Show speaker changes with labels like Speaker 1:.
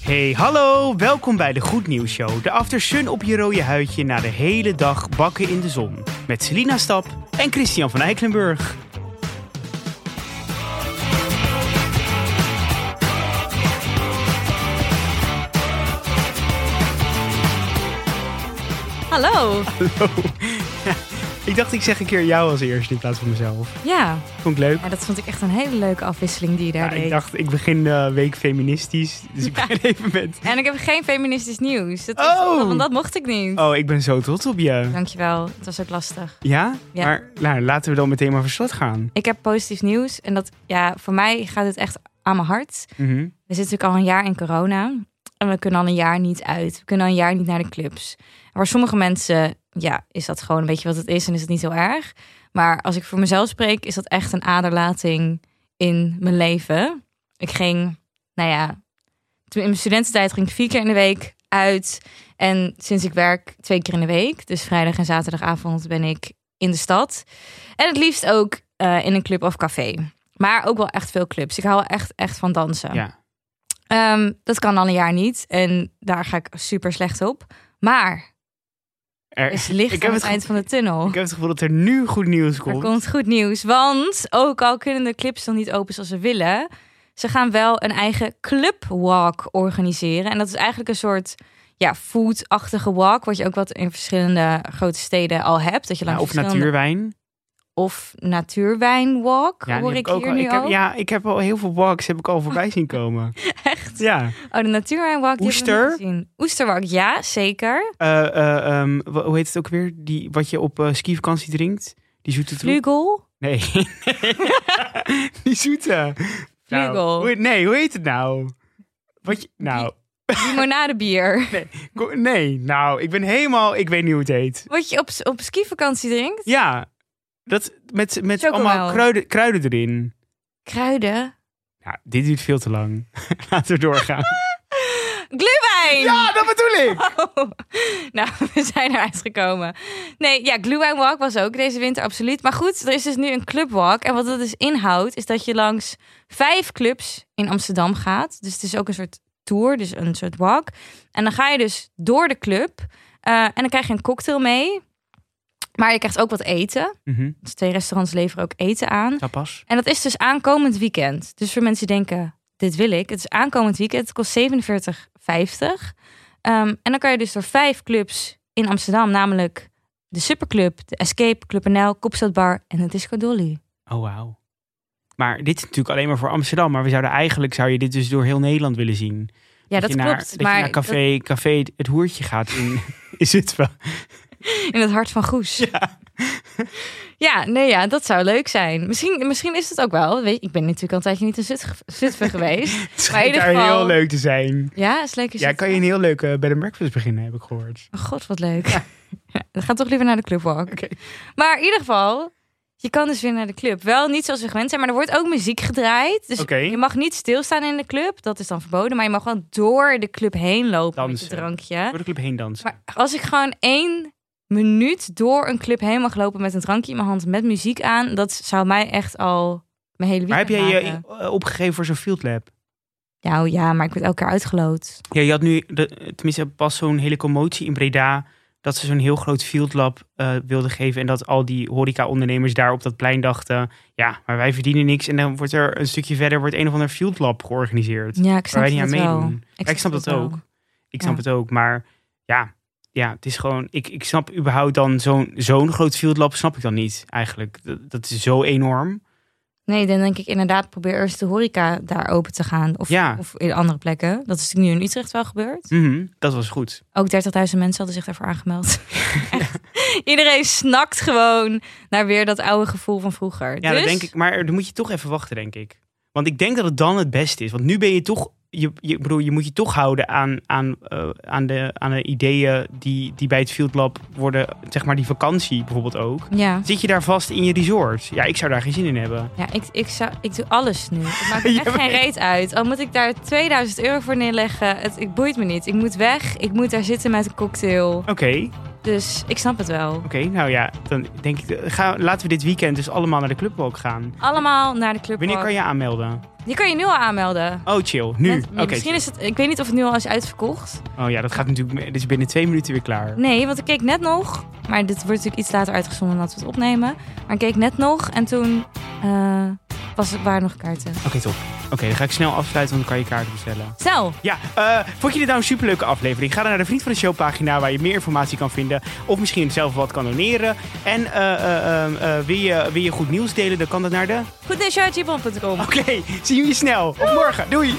Speaker 1: Hey, hallo! Welkom bij de Goed Nieuws Show. De aftersun op je rode huidje na de hele dag bakken in de zon. Met Selina Stap en Christian van Eiklenburg.
Speaker 2: Hallo.
Speaker 1: Ik dacht, ik zeg een keer jou als eerst in plaats van mezelf.
Speaker 2: Ja,
Speaker 1: Vond ik leuk.
Speaker 2: maar dat vond ik echt een hele leuke afwisseling die je daar
Speaker 1: Ja,
Speaker 2: deed.
Speaker 1: ik dacht, ik begin de week feministisch. Dus ik ben even met.
Speaker 2: En ik heb geen feministisch nieuws. Dat is,
Speaker 1: Oh!
Speaker 2: Want dat mocht ik niet.
Speaker 1: Oh, ik ben zo trots op je.
Speaker 2: Dankjewel, het was ook lastig.
Speaker 1: Ja?
Speaker 2: Ja.
Speaker 1: Maar nou, laten we dan meteen maar van slot gaan.
Speaker 2: Ik heb positief nieuws. En dat, ja, voor mij gaat het echt aan mijn hart.
Speaker 1: Mhm.
Speaker 2: We zitten natuurlijk al een jaar in corona. En we kunnen al een jaar niet uit. We kunnen al een jaar niet naar de clubs. En voor sommige mensen, ja, is dat gewoon een beetje wat het is en is het niet heel erg. Maar als ik voor mezelf spreek, is dat echt een aderlating in mijn leven. Ik ging, nou ja, toen in mijn studententijd ging ik vier keer in de week uit. En sinds ik werk twee keer in de week. Dus vrijdag en zaterdagavond ben ik in de stad. En het liefst ook eh, in een club of café. Maar ook wel echt veel clubs. Ik hou wel echt, echt van dansen.
Speaker 1: Ja.
Speaker 2: Ehm, dat kan al een jaar niet. En daar ga ik super slecht op. Maar
Speaker 1: Er-
Speaker 2: er is licht
Speaker 1: Ik heb het
Speaker 2: aan het,
Speaker 1: ge-
Speaker 2: eind van de tunnel.
Speaker 1: ik heb het gevoel dat er nu goed nieuws
Speaker 2: Er
Speaker 1: komt.
Speaker 2: komt goed nieuws. Want ook al kunnen de clips nog niet open zoals ze willen... ze gaan wel een eigen clubwalk organiseren. En dat is eigenlijk een soort ja, food-achtige walk... wat je ook wat in verschillende grote steden al hebt. Dat je
Speaker 1: Ja,
Speaker 2: langs
Speaker 1: of
Speaker 2: verschillende-
Speaker 1: natuurwijn.
Speaker 2: Of natuurwijnwalk,
Speaker 1: die
Speaker 2: hoor
Speaker 1: heb
Speaker 2: ik, hier
Speaker 1: al,
Speaker 2: nu
Speaker 1: ik
Speaker 2: al.
Speaker 1: heb, Ja, ik heb al heel veel walks heb ik al voorbij zien komen.
Speaker 2: Echt?
Speaker 1: Ja.
Speaker 2: Oh, de natuurwijnwalk. die hebben we nog
Speaker 1: Oester?
Speaker 2: niet gezien. Oesterwalk, ja, zeker.
Speaker 1: Eh, eh, ehm, wa- hoe heet het ook weer? Die, wat je op eh, skivakantie drinkt? Die zoete troep?
Speaker 2: Vlugel.
Speaker 1: Nee. die zoete. Nou,
Speaker 2: Vlugel.
Speaker 1: hoe- nee, hoe heet het nou? Wat je, nou,
Speaker 2: limonadebier.
Speaker 1: ko- nee, nou, ik ben helemaal, ik weet niet hoe het heet.
Speaker 2: Wat je op, op skivakantie drinkt.
Speaker 1: Ja, dat met, met
Speaker 2: Chocomel.
Speaker 1: allemaal kruiden, kruiden erin.
Speaker 2: Kruiden.
Speaker 1: Nou, dit duurt veel te lang. Laten we doorgaan. Mhm.
Speaker 2: Glühwein!
Speaker 1: ja, dat bedoel ik.
Speaker 2: Oh. Nou, we zijn eruit gekomen. Nee, ja, Glühwein Walk was ook deze winter absoluut. Maar goed, er is dus nu een clubwalk. En wat dat dus inhoudt, is dat je langs vijf clubs in Amsterdam gaat. Dus het is ook een soort tour, dus een soort walk. En dan ga je dus door de club. eh, en dan krijg je een cocktail mee. Maar je krijgt ook wat eten.
Speaker 1: Mhm.
Speaker 2: Dus twee restaurants leveren ook eten aan.
Speaker 1: Tapas.
Speaker 2: En dat is dus aankomend weekend. Dus voor mensen die denken, dit wil ik. Het is aankomend weekend. Het kost 47,50. Ehm, en dan kan je dus door vijf clubs in Amsterdam. Namelijk de Superclub, de Escape, Club NL, Kopstad Bar en de Disco Dolly.
Speaker 1: Oh, wauw. Maar dit is natuurlijk alleen maar voor Amsterdam. Maar we zouden eigenlijk, zou je dit dus door heel Nederland willen zien.
Speaker 2: Ja, dat,
Speaker 1: je naar,
Speaker 2: klopt.
Speaker 1: Dat
Speaker 2: maar
Speaker 1: je naar café, café Het Hoertje gaat in, is het wel.
Speaker 2: dat- in het hart van Goes. Ja. nee, ja, dat zou leuk zijn. Misschien, misschien is het ook wel. Weet, je, ik ben natuurlijk al een tijdje niet in Zutphen, Zutphen geweest.
Speaker 1: Het schijnt
Speaker 2: ieder
Speaker 1: daar
Speaker 2: geval-
Speaker 1: heel leuk te zijn.
Speaker 2: Ja, is leuk. Is
Speaker 1: Ja,
Speaker 2: het-
Speaker 1: kan je een heel leuke eh, bed and breakfast beginnen, heb ik gehoord.
Speaker 2: Oh, God, wat leuk. Ja, dan gaan we toch liever naar de clubwalk.
Speaker 1: Oké.
Speaker 2: Maar in ieder geval, je kan dus weer naar de club. Wel niet zoals we gewend zijn, maar er wordt ook muziek gedraaid. Dus
Speaker 1: Oké.
Speaker 2: je mag niet stilstaan in de club. Dat is dan verboden. Maar je mag wel door de club heen lopen met
Speaker 1: Dansen.
Speaker 2: je drankje.
Speaker 1: Door de club heen dansen.
Speaker 2: Maar als ik gewoon één minuut door een club heen mag lopen met een drankje in mijn hand met muziek aan, dat zou mij echt al mijn hele
Speaker 1: Maar
Speaker 2: weekend
Speaker 1: heb jij je
Speaker 2: maken.
Speaker 1: eh, opgegeven voor zo'n field lab?
Speaker 2: Nou ja, maar ik word elke keer uitgeloot.
Speaker 1: Ja, je had nu, de, tenminste pas zo'n hele commotie in Breda... dat ze zo'n heel groot field lab eh, wilden geven... en dat al die horeca-ondernemers daar op dat plein dachten... ja, maar wij verdienen niks. En dan wordt er een stukje verder wordt een of ander field lab georganiseerd.
Speaker 2: Ja, ik
Speaker 1: Waar
Speaker 2: snap
Speaker 1: wij niet
Speaker 2: dat
Speaker 1: aan
Speaker 2: wel.
Speaker 1: meedoen. Ik, snap dat
Speaker 2: wel.
Speaker 1: ook. Ik snap
Speaker 2: Ja.
Speaker 1: het ook. Maar ja, ja, het is gewoon. Ik, ik snap überhaupt dan zo'n zo'n groot field lab snap ik dan niet eigenlijk. Dat, dat is zo enorm.
Speaker 2: Nee, dan denk ik inderdaad, probeer eerst de horeca daar open te gaan. Of,
Speaker 1: Ja.
Speaker 2: of in andere plekken. Dat is natuurlijk nu in Utrecht wel gebeurd.
Speaker 1: Mhm, dat was goed.
Speaker 2: Ook 30.000 mensen hadden zich daarvoor aangemeld. Echt. Iedereen snakt gewoon naar weer dat oude gevoel van vroeger.
Speaker 1: Ja,
Speaker 2: dus,
Speaker 1: dat denk ik. Maar dan moet je toch even wachten, denk ik. Want ik denk dat het dan het beste is. Want nu ben je toch. Je, je, ik bedoel, je moet je toch houden aan, aan, eh, aan, de, aan de ideeën die, die bij het field lab worden. Zeg maar die vakantie bijvoorbeeld ook.
Speaker 2: Ja,
Speaker 1: Zit je daar vast in je resort? Ja, ik zou daar geen zin in hebben.
Speaker 2: ja ik, ik, zou, ik doe alles nu. Het maakt
Speaker 1: Ja,
Speaker 2: me echt
Speaker 1: maar-
Speaker 2: geen reet uit. Al moet ik daar 2000 euro voor neerleggen. Het, het boeit me niet. Ik moet weg. Ik moet daar zitten met een cocktail.
Speaker 1: Oké,
Speaker 2: Dus ik snap het wel.
Speaker 1: Oké, nou ja, dan denk ik, eh, ga, laten we dit weekend dus allemaal naar de clubwalk gaan.
Speaker 2: Allemaal naar de club.
Speaker 1: Wanneer kan je aanmelden?
Speaker 2: Die kan je nu al aanmelden.
Speaker 1: Oh, chill, nu.
Speaker 2: Net-
Speaker 1: Oké.
Speaker 2: misschien is het, ik weet niet of het nu al is uitverkocht.
Speaker 1: Oh ja, dat gaat natuurlijk, dit is binnen twee minuten weer klaar.
Speaker 2: Nee, want ik keek net nog. Maar dit wordt natuurlijk iets later uitgezonden dan dat we het opnemen. Maar ik keek net nog en toen eh, was het, waren er nog kaarten.
Speaker 1: Oké, top. Oké, dan ga ik snel afsluiten, want dan kan je kaarten bestellen.
Speaker 2: Snel!
Speaker 1: Ja, eh, vond je dit nou een superleuke aflevering? Ga dan naar de Vriend van de Show pagina waar je meer informatie kan vinden. Of misschien zelf wat kan doneren. En eh, eh, eh, eh, wil, je, wil je goed nieuws delen, dan kan dat naar de...
Speaker 2: Goed, nee,
Speaker 1: Oké, zien we je snel. Of morgen. Doei!